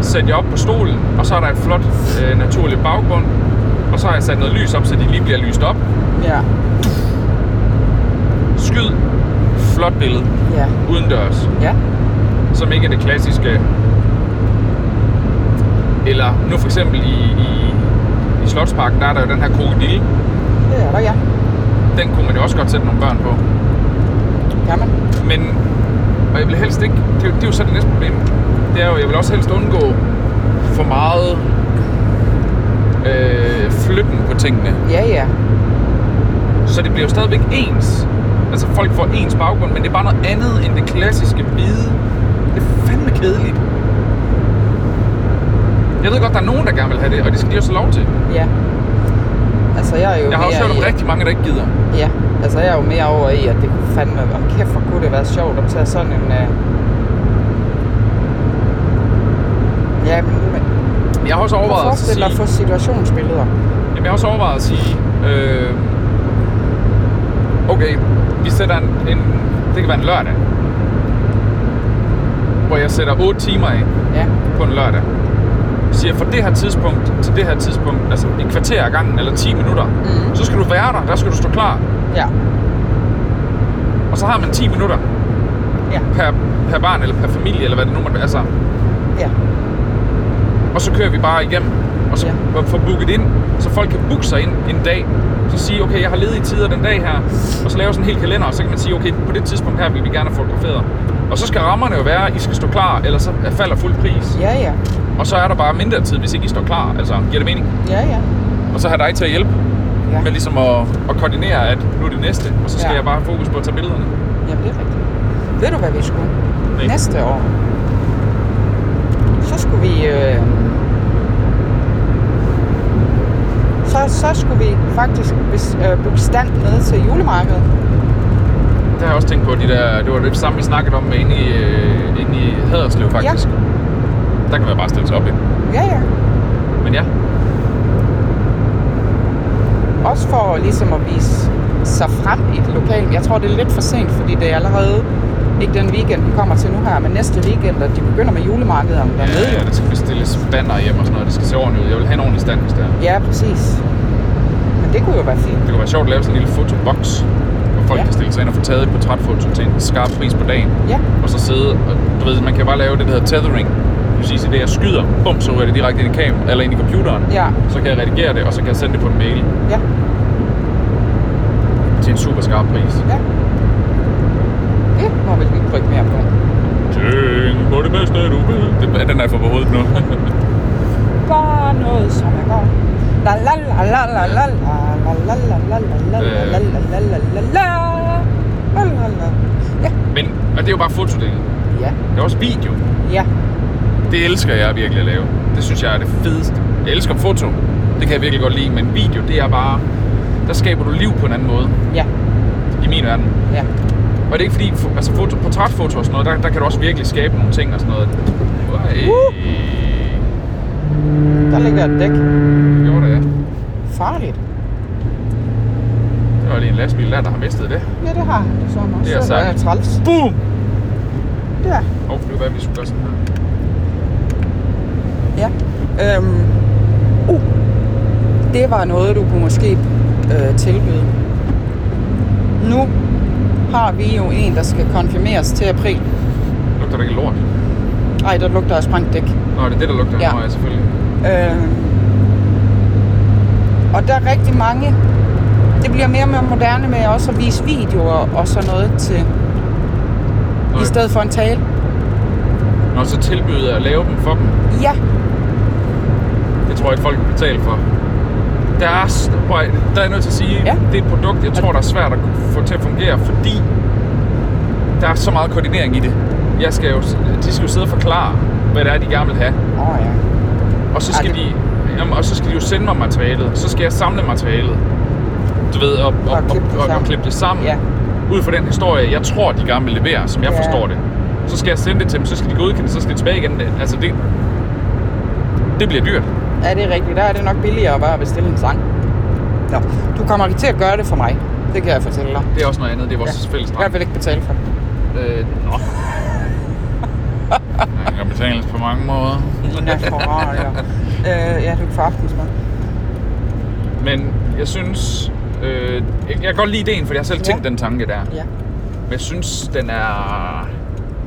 Speaker 3: sætte jer op på stolen, og så er der et flot, øh, naturligt baggrund. Og så har jeg sat noget lys op, så de lige bliver lyst op.
Speaker 2: Ja.
Speaker 3: Skyd. Flot billede.
Speaker 2: Ja.
Speaker 3: Udendørs.
Speaker 2: Ja.
Speaker 3: Som ikke er det klassiske. Eller nu for eksempel i, i, i Slotsparken, der er der jo den her krokodille.
Speaker 2: Det er der, ja.
Speaker 3: Den kunne man jo også godt sætte nogle børn på.
Speaker 2: Kan man?
Speaker 3: Men, og jeg vil helst ikke, det, er jo- det er jo så det næste problem. Det er jo, jeg vil også helst undgå for meget øh, flytten på tingene.
Speaker 2: Ja, ja.
Speaker 3: Så det bliver jo stadigvæk ens. Altså folk får ens baggrund, men det er bare noget andet end det klassiske hvide. Det er fandme kedeligt. Jeg ved godt, der er nogen, der gerne vil have det, og det skal de også have lov til.
Speaker 2: Ja. Altså, jeg er jo
Speaker 3: Jeg har også
Speaker 2: mere
Speaker 3: hørt om
Speaker 2: i-
Speaker 3: rigtig mange, der ikke gider.
Speaker 2: Ja, altså jeg er jo mere over i, at det kunne fandme, om kæft hvor kunne det være sjovt at tage sådan en... Øh... Ja, men men-
Speaker 3: Jeg har også
Speaker 2: prøv at
Speaker 3: overvejet at
Speaker 2: forestille
Speaker 3: sige,
Speaker 2: dig at få situationsbilleder.
Speaker 3: jamen, jeg har også overvejet at sige øh, okay, vi sætter en, en, det kan være en lørdag, hvor jeg sætter 8 timer af.
Speaker 2: Ja,
Speaker 3: på en lørdag, siger fra det her tidspunkt til det her tidspunkt, altså i kvarter af gangen eller 10 minutter,
Speaker 2: Mhm.
Speaker 3: så skal du være der, der skal du stå klar,
Speaker 2: ja,
Speaker 3: og så har man 10 minutter
Speaker 2: ja,
Speaker 3: per, per barn eller per familie, eller hvad det nu måtte være, altså,
Speaker 2: ja,
Speaker 3: og så kører vi bare igennem, og så
Speaker 2: Ja.
Speaker 3: ja. får booket ind, så folk kan booke sig ind en dag, så sige, okay, jeg har ledige tider den dag her, og så lave sådan en hel kalender, og så kan man sige, okay, på det tidspunkt her vil vi gerne have fotograferet. Og så skal rammerne jo være, at I skal stå klar, ellers så falder fuld pris.
Speaker 2: ja, ja,
Speaker 3: Og så er der bare mindre tid, hvis ikke I står klar. Altså, giver det mening?
Speaker 2: ja, ja.
Speaker 3: Og så har dig til at hjælpe.
Speaker 2: ja.
Speaker 3: Men ligesom at, at koordinere, at nu er det næste, og så skal ja.
Speaker 2: Ja.
Speaker 3: jeg bare have fokus på at tage billederne.
Speaker 2: Jamen, det er rigtigt. Ved du, hvad vi skulle?
Speaker 3: Nej.
Speaker 2: Næste år. Så skulle vi... Øh... Så, så skulle vi faktisk bes- øh, booke stand nede til julemarkedet.
Speaker 3: Det har jeg også tænkt på, de der, det var det samme, vi snakkede om inde i, øh, inde i Haderslev faktisk. Ja. Der kan man bare stille sig op i.
Speaker 2: Ja, ja.
Speaker 3: Men ja,
Speaker 2: Også for ligesom at vise sig frem i det lokale. Jeg tror, det er lidt for sent, fordi det er allerede ikke den weekend, vi kommer til nu her, men næste weekend, at de begynder med julemarkederne
Speaker 3: ja,
Speaker 2: dernede.
Speaker 3: ja, der øh, skal bestilles banner hjem og sådan noget. Det skal se ordentligt ud. Jeg vil have en ordentlig stand, hvis det er.
Speaker 2: Ja, præcis. Men det kunne jo være fint.
Speaker 3: Det kunne være sjovt at lave sådan en lille fotoboks, hvor folk ja.
Speaker 2: Ja.
Speaker 3: kan stille sig ind og få taget et portrætfoto til en skarp pris på dagen.
Speaker 2: Ja,
Speaker 3: Og så sidde, og du ved, man kan bare lave det, der hedder tethering. Præcis i det, jeg skyder, bum, så ryger det direkte ind i kameraet, eller ind i computeren.
Speaker 2: ja,
Speaker 3: Så kan jeg redigere det, og så kan jeg sende det på en mail.
Speaker 2: ja,
Speaker 3: til en super skarp pris.
Speaker 2: ja. Det må vi lige trykke mere på.
Speaker 3: Tænk på det bedste, du ved. Det, den er for på hovedet nu.
Speaker 2: Bare noget, som er godt. La la la la la la la la la la la la la la la la la la la la la Ja,
Speaker 3: [LAUGHS] Men, og det er jo bare fotodelen.
Speaker 2: ja,
Speaker 3: Det er også video.
Speaker 2: ja,
Speaker 3: Det elsker jeg virkelig at lave. Det synes jeg er det fedeste. Jeg elsker foto. Det kan jeg virkelig godt lide, men video, det er bare... Der skaber du liv på en anden måde
Speaker 2: ja,
Speaker 3: i min verden.
Speaker 2: ja.
Speaker 3: Og det er ikke fordi, fo- altså foto, portrætfoto og sådan noget, der, der kan du også virkelig skabe nogle ting og sådan noget. Øj,
Speaker 2: Uh! Der ligger et dæk.
Speaker 3: gjorde det, ja.
Speaker 2: Farligt.
Speaker 3: Det var lige en lastbil der, der har mistet det.
Speaker 2: Ja, det har han det sådan også.
Speaker 3: Det er
Speaker 2: Så jeg
Speaker 3: sejt.
Speaker 2: træls.
Speaker 3: Boom!
Speaker 2: Ja.
Speaker 3: Åh, oh, det var hvad, vi skulle gøre sådan her.
Speaker 2: Ja. Øhm, uh, det var noget, du kunne måske øh, tilbyde. Nu har vi jo en, der skal konfirmeres til april.
Speaker 3: Lugter der ikke af lort?
Speaker 2: Ej, der lugter af sprængt dæk.
Speaker 3: Nå, det er det, der lugter.
Speaker 2: Ja.
Speaker 3: Ja. Nå, ja, selvfølgelig.
Speaker 2: Øhm, og der er rigtig mange... Det bliver mere og mere moderne med også at vise videoer og sådan noget til...
Speaker 3: Nå,
Speaker 2: I stedet for en tale.
Speaker 3: Nå, så tilbyder jeg at lave dem for dem.
Speaker 2: Ja,
Speaker 3: Det tror jeg ikke, folk vil betale for. Der er, s- prøv at- der er jeg nødt til at sige,
Speaker 2: Ja.
Speaker 3: ja. det er et produkt, jeg tror, der er svært at få til at fungere, fordi der er så meget koordinering i det. Jeg skal jo, s- de skal jo sidde og forklare, hvad det er, de gerne vil have.
Speaker 2: Åh oh, ja.
Speaker 3: Og så
Speaker 2: Ej,
Speaker 3: skal,
Speaker 2: det-
Speaker 3: de, jamen, og så skal de jo sende mig materialet. Så skal jeg samle materialet. Du ved, og, og, og,
Speaker 2: klippe det
Speaker 3: og, og,
Speaker 2: sammen.
Speaker 3: klippe det sammen.
Speaker 2: Ja.
Speaker 3: Ud fra den historie, jeg tror, de gerne vil levere, som jeg
Speaker 2: Ja.
Speaker 3: forstår det. Så skal jeg sende det til dem, så skal de godkende det, så skal de tilbage igen. Altså det, det bliver dyrt.
Speaker 2: Ja, det er rigtigt. Der er det nok billigere at bare bestille en sang. Nå, du kommer ikke til at gøre det for mig. Det kan jeg fortælle dig.
Speaker 3: Det er også noget andet, det er vores ja. fælles
Speaker 2: Jeg vil ikke betale for det.
Speaker 3: Øh,
Speaker 2: [LAUGHS]
Speaker 3: nå. Man kan betales på mange måder.
Speaker 2: Ja, for rart, ja. Øh, ja, du kan få aftensmad.
Speaker 3: Men jeg synes... Øh, jeg, jeg kan godt lide ideen, for jeg har selv
Speaker 2: Ja.
Speaker 3: tænkt den tanke der.
Speaker 2: Ja.
Speaker 3: Men jeg synes, den er...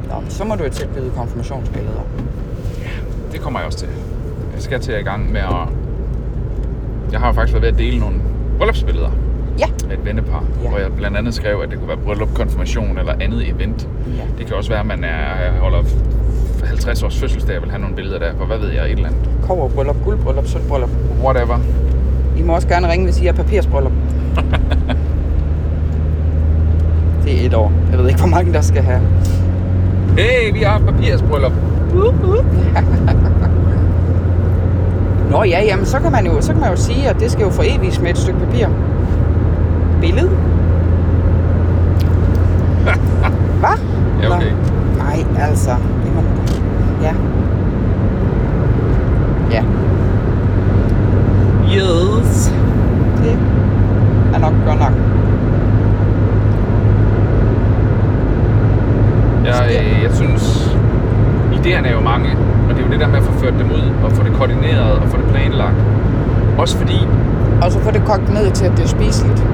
Speaker 2: Nå, men så må du jo tilbyde konfirmationsbilleder.
Speaker 3: Det kommer jeg også til. Jeg skal til at i gang med at... Jeg har faktisk været ved at dele nogle bryllupsbilleder
Speaker 2: Ja.
Speaker 3: af et vennepar,
Speaker 2: Ja.
Speaker 3: ja. hvor jeg blandt andet skrev, at det kunne være bryllup, konfirmation eller andet event.
Speaker 2: Ja.
Speaker 3: Det kan også være, at man er, holder f- 50 års fødselsdag og vil have nogle billeder der, for hvad ved jeg, et eller andet.
Speaker 2: Kover bryllup, guldbryllup, sølvbryllup.
Speaker 3: Whatever.
Speaker 2: I må også gerne ringe, hvis I har papirsbryllup. det er et år. Jeg ved ikke, hvor mange der skal have.
Speaker 3: Hey, vi har haft papirsbryllup.
Speaker 2: [LAUGHS] Nå ja, jamen så kan man jo, så kan man jo sige, at det skal jo foreviges med et stykke papir.
Speaker 3: [LAUGHS]
Speaker 2: Billede? Hvad?
Speaker 3: Ja, okay.
Speaker 2: Nå, nej, altså. Jamen, ja. Ja,
Speaker 3: Yes.
Speaker 2: det er nok godt nok.
Speaker 3: Jeg, øh, jeg synes, idéerne er jo mange, og det er jo det der med at få ført dem ud, og få det koordineret, og få det planlagt. Også fordi,
Speaker 2: Og så får det kogt ned til, at det er spiseligt.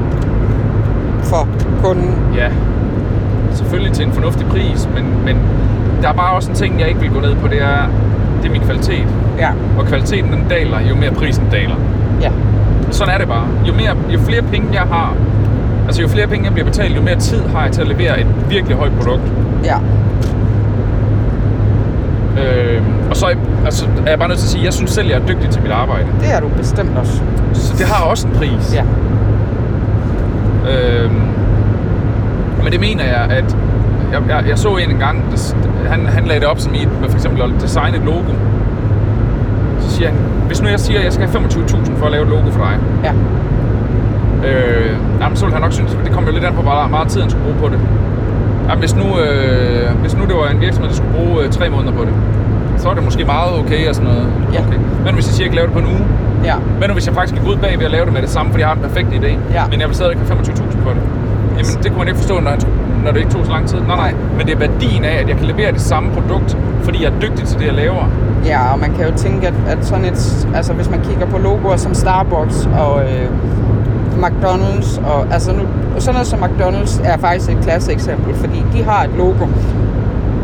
Speaker 2: For kunden.
Speaker 3: ja, selvfølgelig til en fornuftig pris, men, men der er bare også en ting, jeg ikke vil gå ned på, det er, det er min kvalitet.
Speaker 2: Ja,
Speaker 3: Og kvaliteten den daler, jo mere prisen daler.
Speaker 2: ja.
Speaker 3: Sådan er det bare. Jo, mere, jo flere penge jeg har, altså jo flere penge jeg bliver betalt, jo mere tid har jeg til at levere et virkelig højt produkt.
Speaker 2: Ja,
Speaker 3: Øh, og så altså, er jeg bare nødt til at sige, at jeg synes selv, jeg er dygtig til mit arbejde.
Speaker 2: det er du bestemt også.
Speaker 3: Så det har også en pris.
Speaker 2: Ja.
Speaker 3: Øhm, men det mener jeg, at jeg, jeg, jeg så en engang, der s- han, han lagde det op som i, med for eksempel at designe et logo. Så siger han, hvis nu jeg siger, at jeg skal have 25.000 for at lave et logo for dig,
Speaker 2: Ja,
Speaker 3: øh, jamen, så ville han nok synes, at det kom jo lidt an på, hvor meget- meget tid han skulle bruge på det. Jamen, hvis, nu, øh, hvis nu det var en virksomhed, der skulle bruge øh, tre måneder på det, så er det måske meget okay og sådan noget.
Speaker 2: Ja.
Speaker 3: Okay. Men hvis jeg siger, at jeg kan lave det på en uge,
Speaker 2: ja.
Speaker 3: men nu hvis jeg faktisk gik ud bag ved at lave det med det samme, fordi jeg har en perfekt idé,
Speaker 2: Ja.
Speaker 3: men jeg vil stadig ikke have 25.000 på det. Jamen det kunne man ikke forstå, når, han, når det ikke tog så lang tid. Nej, nej, men det er værdien af, at jeg kan levere det samme produkt, fordi jeg er dygtig til det, jeg laver.
Speaker 2: Ja, og man kan jo tænke, at, at sådan et, altså hvis man kigger på logoer som Starbucks og øh, McDonald's, og altså nu, sådan noget som McDonald's er faktisk et klasseeksempel, fordi de har et logo.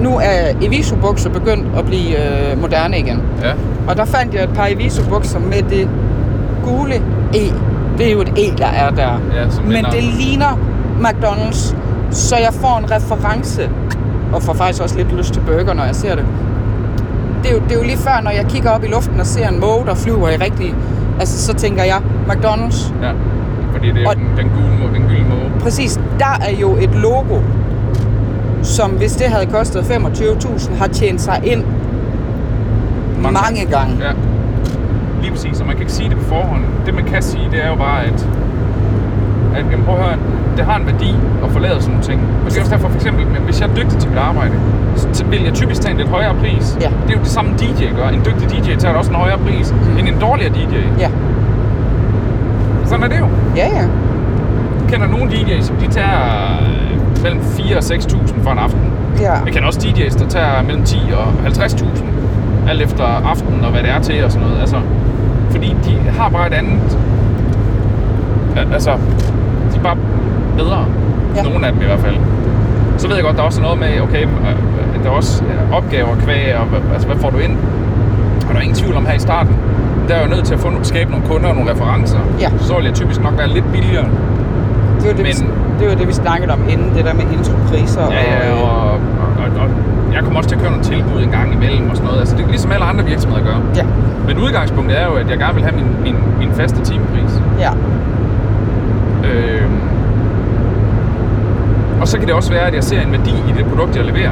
Speaker 2: Nu er Eviso-bukser begyndt at blive øh, moderne igen.
Speaker 3: Ja.
Speaker 2: Og der fandt jeg et par Eviso-bukser med det gule E. Det er jo et E, der er der.
Speaker 3: Ja, som
Speaker 2: Men
Speaker 3: minder-
Speaker 2: det ligner McDonald's, så jeg får en reference. Og får faktisk også lidt lyst til burger, når jeg ser det. Det er, jo, det er jo lige før, når jeg kigger op i luften og ser en måge, der flyver i rigtig... Altså, så tænker jeg, McDonald's.
Speaker 3: ja. Fordi det er
Speaker 2: Og-
Speaker 3: og... den, den gule må, den gylde måge.
Speaker 2: Præcis, der er jo et logo, som hvis det havde kostet 25.000, har tjent sig ind mange, mange gange.
Speaker 3: Ja. Lige præcis, og man kan ikke sige det på forhånd. Det man kan sige, det er jo bare, at, at jamen, prøv at høre, det har en værdi at få lavet sådan nogle ting. Og det er også derfor, for eksempel, men hvis jeg er dygtig til mit arbejde, så så vil jeg typisk tage en lidt højere pris.
Speaker 2: Ja.
Speaker 3: Det er jo det samme DJ gør. En dygtig DJ tager da også en højere pris mm. end en dårligere DJ.
Speaker 2: Ja,
Speaker 3: Sådan er det jo.
Speaker 2: ja, ja.
Speaker 3: Jeg kender nogle DJ's, som de tager øh, mellem 4 og 6.000 for en aften.
Speaker 2: ja.
Speaker 3: Jeg kender også DJ's, der tager mellem 10 og 50.000, alt efter aftenen og hvad det er til og sådan noget. Altså, fordi de har bare et andet... al- Altså, de er bare bedre.
Speaker 2: Ja.
Speaker 3: Ja. Nogle af dem i hvert fald. Så ved jeg godt, der er også noget med, okay, øh, øh, der er også øh, opgaver kvæg, og hva- altså, hvad får du ind? Og der er ingen tvivl om her i starten, der er jeg jo nødt til at få, no- skabe nogle kunder og nogle referencer.
Speaker 2: Ja.
Speaker 3: Så vil jeg typisk nok være lidt billigere.
Speaker 2: Det var det, vi,
Speaker 3: Men-
Speaker 2: det var det, vi snakkede om inden, det der med intropriser.
Speaker 3: Ja, ja,
Speaker 2: øh,
Speaker 3: og, og, og, og jeg kommer også til at køre nogle tilbud en gang imellem og sådan noget. Altså, det er ligesom alle andre virksomheder gør.
Speaker 2: ja,
Speaker 3: Men udgangspunktet er jo, at jeg gerne vil have min, min, min faste timepris.
Speaker 2: ja,
Speaker 3: Øh, og så kan det også være, at jeg ser en værdi i det produkt, jeg leverer.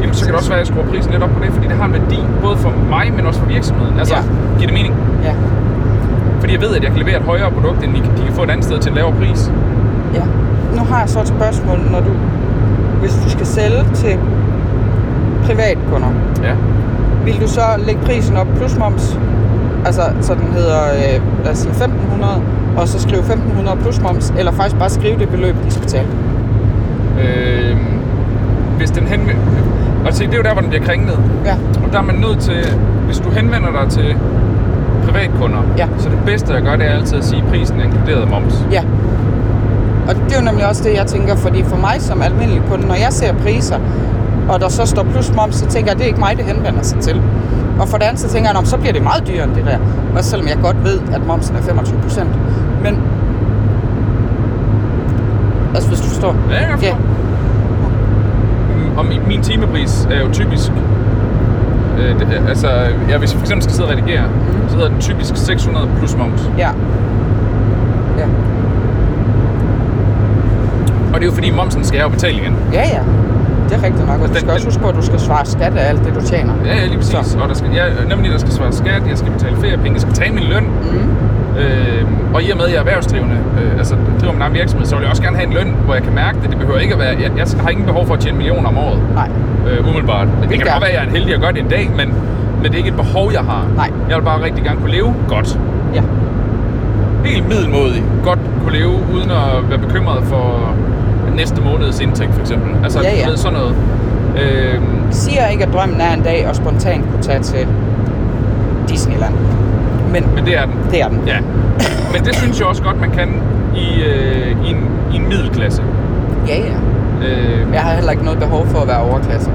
Speaker 3: Jamen, så kan det også være, at jeg skruer prisen lidt op på det, fordi det har en værdi både for mig, men også for virksomheden. Altså,
Speaker 2: Ja.
Speaker 3: ja. giver det mening?
Speaker 2: ja,
Speaker 3: Fordi jeg ved, at jeg kan levere et højere produkt, end de, kan- de kan få et andet sted til en lavere pris.
Speaker 2: ja. Nu har jeg så et spørgsmål, når du, hvis du skal sælge til privatkunder,
Speaker 3: Ja.
Speaker 2: vil du så lægge prisen op plus moms? Altså, så den hedder, øh, lad os sige 1.500, og så skrive 1.500 plus moms, eller faktisk bare skrive det beløb, de skal betale.
Speaker 3: Øh, hvis den henvender... Og se, det er jo der, hvor den bliver kringlet.
Speaker 2: Ja,
Speaker 3: Og der er man nødt til, hvis du henvender dig til privatkunder,
Speaker 2: Ja.
Speaker 3: så det bedste at gøre, det er altid at sige, at prisen er inkluderet moms.
Speaker 2: ja. Og det er jo nemlig også det, jeg tænker, fordi for mig som almindelig kunde, når jeg ser priser, og der så står plus moms, så tænker jeg, det er ikke mig, det henvender sig til. Og for det andet, så tænker jeg, "Nå, men så bliver det meget dyrere end det der. Også selvom jeg godt ved, at momsen er 25 procent. Men... Altså, hvis du forstår.
Speaker 3: Ja, jeg
Speaker 2: Ja.
Speaker 3: forstår. Mm, Og min- min timepris er jo typisk... Øh, det, altså, ja, hvis jeg for eksempel skal sidde og redigere,
Speaker 2: Mhm.
Speaker 3: mm. så hedder den typisk 600 plus moms.
Speaker 2: Ja. Ja.
Speaker 3: Og det er jo fordi, momsen skal jeg jo betale igen.
Speaker 2: Ja, ja. Det er rigtigt nok. Og du
Speaker 3: den-
Speaker 2: skal også
Speaker 3: den-
Speaker 2: huske på, at du skal svare skat af alt det, du tjener.
Speaker 3: Ja, ja lige præcis.
Speaker 2: Så.
Speaker 3: Så. Og der skal, ja, nemlig, der skal svare skat, jeg skal betale feriepenge, jeg skal betale min løn. Mm. Øh, og i og med, at jeg er erhvervsdrivende, øh, altså driver min egen virksomhed, så vil jeg også gerne have en løn, hvor jeg kan mærke det. Det behøver ikke at være... Jeg, jeg har ingen behov for at tjene millioner om året,
Speaker 2: Nej.
Speaker 3: øh, umiddelbart. Det kan
Speaker 2: gør-
Speaker 3: godt være, at jeg er en heldig at gøre det en dag, men, men det er ikke et behov, jeg har.
Speaker 2: Nej.
Speaker 3: Jeg vil bare rigtig gerne kunne leve godt.
Speaker 2: Ja.
Speaker 3: Helt middelmodig. Godt kunne leve, uden at være bekymret for næste måneds indtægt, for eksempel. Altså,
Speaker 2: Ja, ja.
Speaker 3: du ved, sådan noget. Øh,
Speaker 2: Jeg siger ikke, at drømmen er en dag at spontant kunne tage til Disneyland. Men
Speaker 3: men det er den.
Speaker 2: det er den.
Speaker 3: Ja, men det synes jeg også godt, man kan i, øh, i, en, i en middelklasse.
Speaker 2: Ja, ja.
Speaker 3: Øh,
Speaker 2: Men Jeg har heller ikke noget behov for at være overklasse.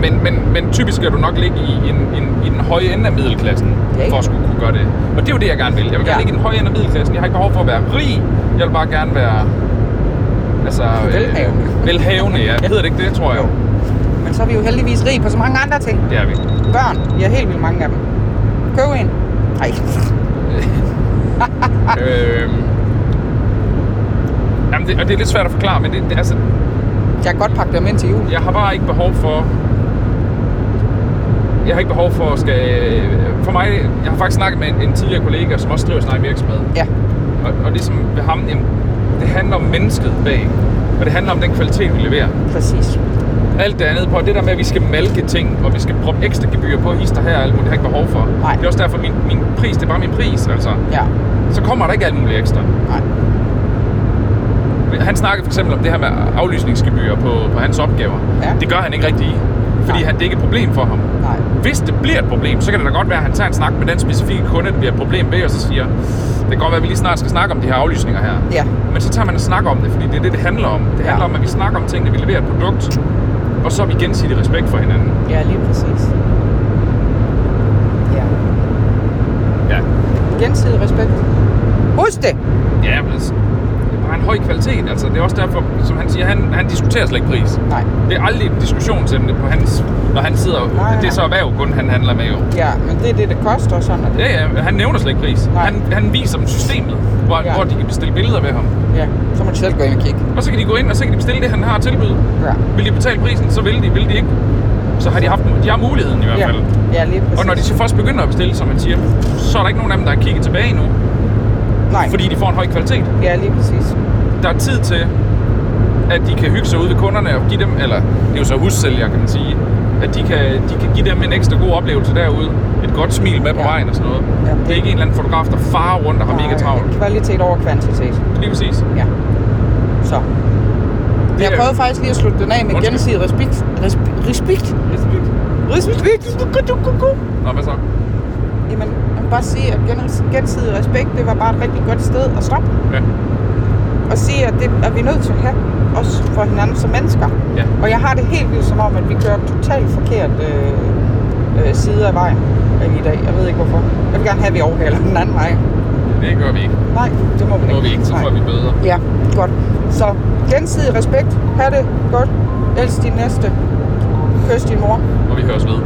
Speaker 3: men, men, men typisk skal du nok ligge i, en, en, i den høje ende af middelklassen,
Speaker 2: Ja,
Speaker 3: ja,
Speaker 2: ikke?
Speaker 3: for at skulle kunne gøre det. Og det er jo det, jeg gerne vil. Jeg vil gerne
Speaker 2: Ja.
Speaker 3: ligge i den høje ende af middelklassen. Jeg har ikke behov for at være rig. Jeg vil bare gerne være... Altså,
Speaker 2: Velhavende.
Speaker 3: Øh, velhavende, ja. Hedder det ikke det, tror jeg?
Speaker 2: Jo. Men så er vi jo heldigvis rige på så mange andre ting.
Speaker 3: Det er vi.
Speaker 2: Børn, vi har helt vildt mange af dem. Køb en. Nej. Ah.
Speaker 3: øh, jamen det, og det er lidt svært at forklare, men det, det, altså,
Speaker 2: Jeg kan godt pakke dem ind til jul.
Speaker 3: jeg har bare ikke behov for... Jeg har ikke behov for at skal... øh, For mig, jeg har faktisk snakket med en, en tidligere kollega, som også driver sin egen virksomhed.
Speaker 2: Ja.
Speaker 3: Og, og ligesom ved ham, jamen, det handler om mennesket bag. Og det handler om den kvalitet, vi leverer.
Speaker 2: Præcis.
Speaker 3: Alt det andet på, og det der med, at vi skal malke ting, og vi skal proppe ekstra gebyr på, hister her og alt muligt, det har jeg ikke behov for.
Speaker 2: Nej.
Speaker 3: Det er også derfor, min, min pris, det er bare min pris, altså.
Speaker 2: Ja.
Speaker 3: Så kommer der ikke alt muligt ekstra.
Speaker 2: Nej.
Speaker 3: Han snakkede for eksempel om det her med aflysningsgebyr på, på hans opgaver.
Speaker 2: Ja.
Speaker 3: Det gør han ikke rigtig i, fordi
Speaker 2: Nej.
Speaker 3: han, det er ikke et problem for ham.
Speaker 2: Nej.
Speaker 3: Hvis det bliver et problem, så kan det da godt være, at han tager en snak med den specifikke kunde, det bliver et problem ved, og så siger, det kan godt være, at vi lige snart skal snakke om de her aflysninger her.
Speaker 2: Ja.
Speaker 3: Men så tager man en snak om det, fordi det er det, det handler om. Det
Speaker 2: Ja.
Speaker 3: handler om, at vi snakker om tingene, vi leverer et produkt, og så har vi gensidig respekt for hinanden.
Speaker 2: Ja, lige præcis. Ja.
Speaker 3: Ja.
Speaker 2: Gensidig respekt. Husk det!
Speaker 3: Ja, men altså, det er bare en høj kvalitet. Altså, det er også derfor, som han siger, han, han diskuterer slet ikke pris.
Speaker 2: Nej.
Speaker 3: Det er aldrig et diskussionsemne på hans, når han sidder.
Speaker 2: Nej,
Speaker 3: Nej, det
Speaker 2: nej.
Speaker 3: er så erhverv, kun han handler med jo.
Speaker 2: Ja, men det er det, det koster og sådan. Og det.
Speaker 3: Ja, ja, han nævner slet ikke pris.
Speaker 2: Nej.
Speaker 3: Han, han viser dem systemet, hvor,
Speaker 2: Ja.
Speaker 3: ja. hvor de kan bestille billeder ved ham.
Speaker 2: Ja. Så må du selv gå ind og kigge.
Speaker 3: Og så kan de gå ind, og så kan de bestille det, han har at tilbyde.
Speaker 2: Ja.
Speaker 3: Vil de betale prisen, så vil de. Vil de ikke, så har de haft de har muligheden i hvert
Speaker 2: Ja.
Speaker 3: fald.
Speaker 2: ja, lige præcis.
Speaker 3: Og når de så først begynder at bestille, som man siger, så er der ikke nogen af dem, der har kigget tilbage endnu.
Speaker 2: Nej.
Speaker 3: fordi de får en høj kvalitet.
Speaker 2: Ja, lige præcis.
Speaker 3: Der er tid til, at de kan hygge sig ud ved kunderne og give dem, eller det er jo så hussælger, kan man sige, at de kan, de kan give dem en ekstra god oplevelse derude. Et godt smil med på
Speaker 2: Ja.
Speaker 3: vejen og sådan noget.
Speaker 2: Ja.
Speaker 3: Det er ikke en eller anden fotograf, der farer rundt og har mega
Speaker 2: Nej,
Speaker 3: travlt.
Speaker 2: Kvalitet over kvantitet.
Speaker 3: Lige præcis.
Speaker 2: Ja. Så. Jeg
Speaker 3: er-
Speaker 2: prøvede faktisk lige at slutte den af med
Speaker 3: Undskyld.
Speaker 2: gensidig respekt. Respekt. Respekt. Respekt.
Speaker 3: Nå, hvad så?
Speaker 2: Jamen, jeg vil bare sige, at gen- gensidig respekt, det var bare et rigtig godt sted at stoppe.
Speaker 3: Ja.
Speaker 2: Og sige, at det er vi nødt til at have, også for hinanden som mennesker.
Speaker 3: Ja.
Speaker 2: Og jeg har det helt vildt som om, at vi kører totalt forkert øh, øh, side af vejen øh, i dag. Jeg ved ikke hvorfor. Jeg vil gerne have, at vi overhaler den anden vej.
Speaker 3: Det gør vi ikke.
Speaker 2: Nej, det må vi
Speaker 3: Det
Speaker 2: ikke.
Speaker 3: må vi ikke, så
Speaker 2: Nej.
Speaker 3: får vi bedre.
Speaker 2: Ja, godt. Så gensidig respekt. Ha' det godt. Elsk din næste. Kys din mor.
Speaker 3: Og vi høres ved.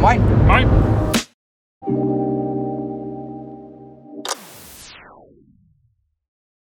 Speaker 2: Moin.
Speaker 3: Hej!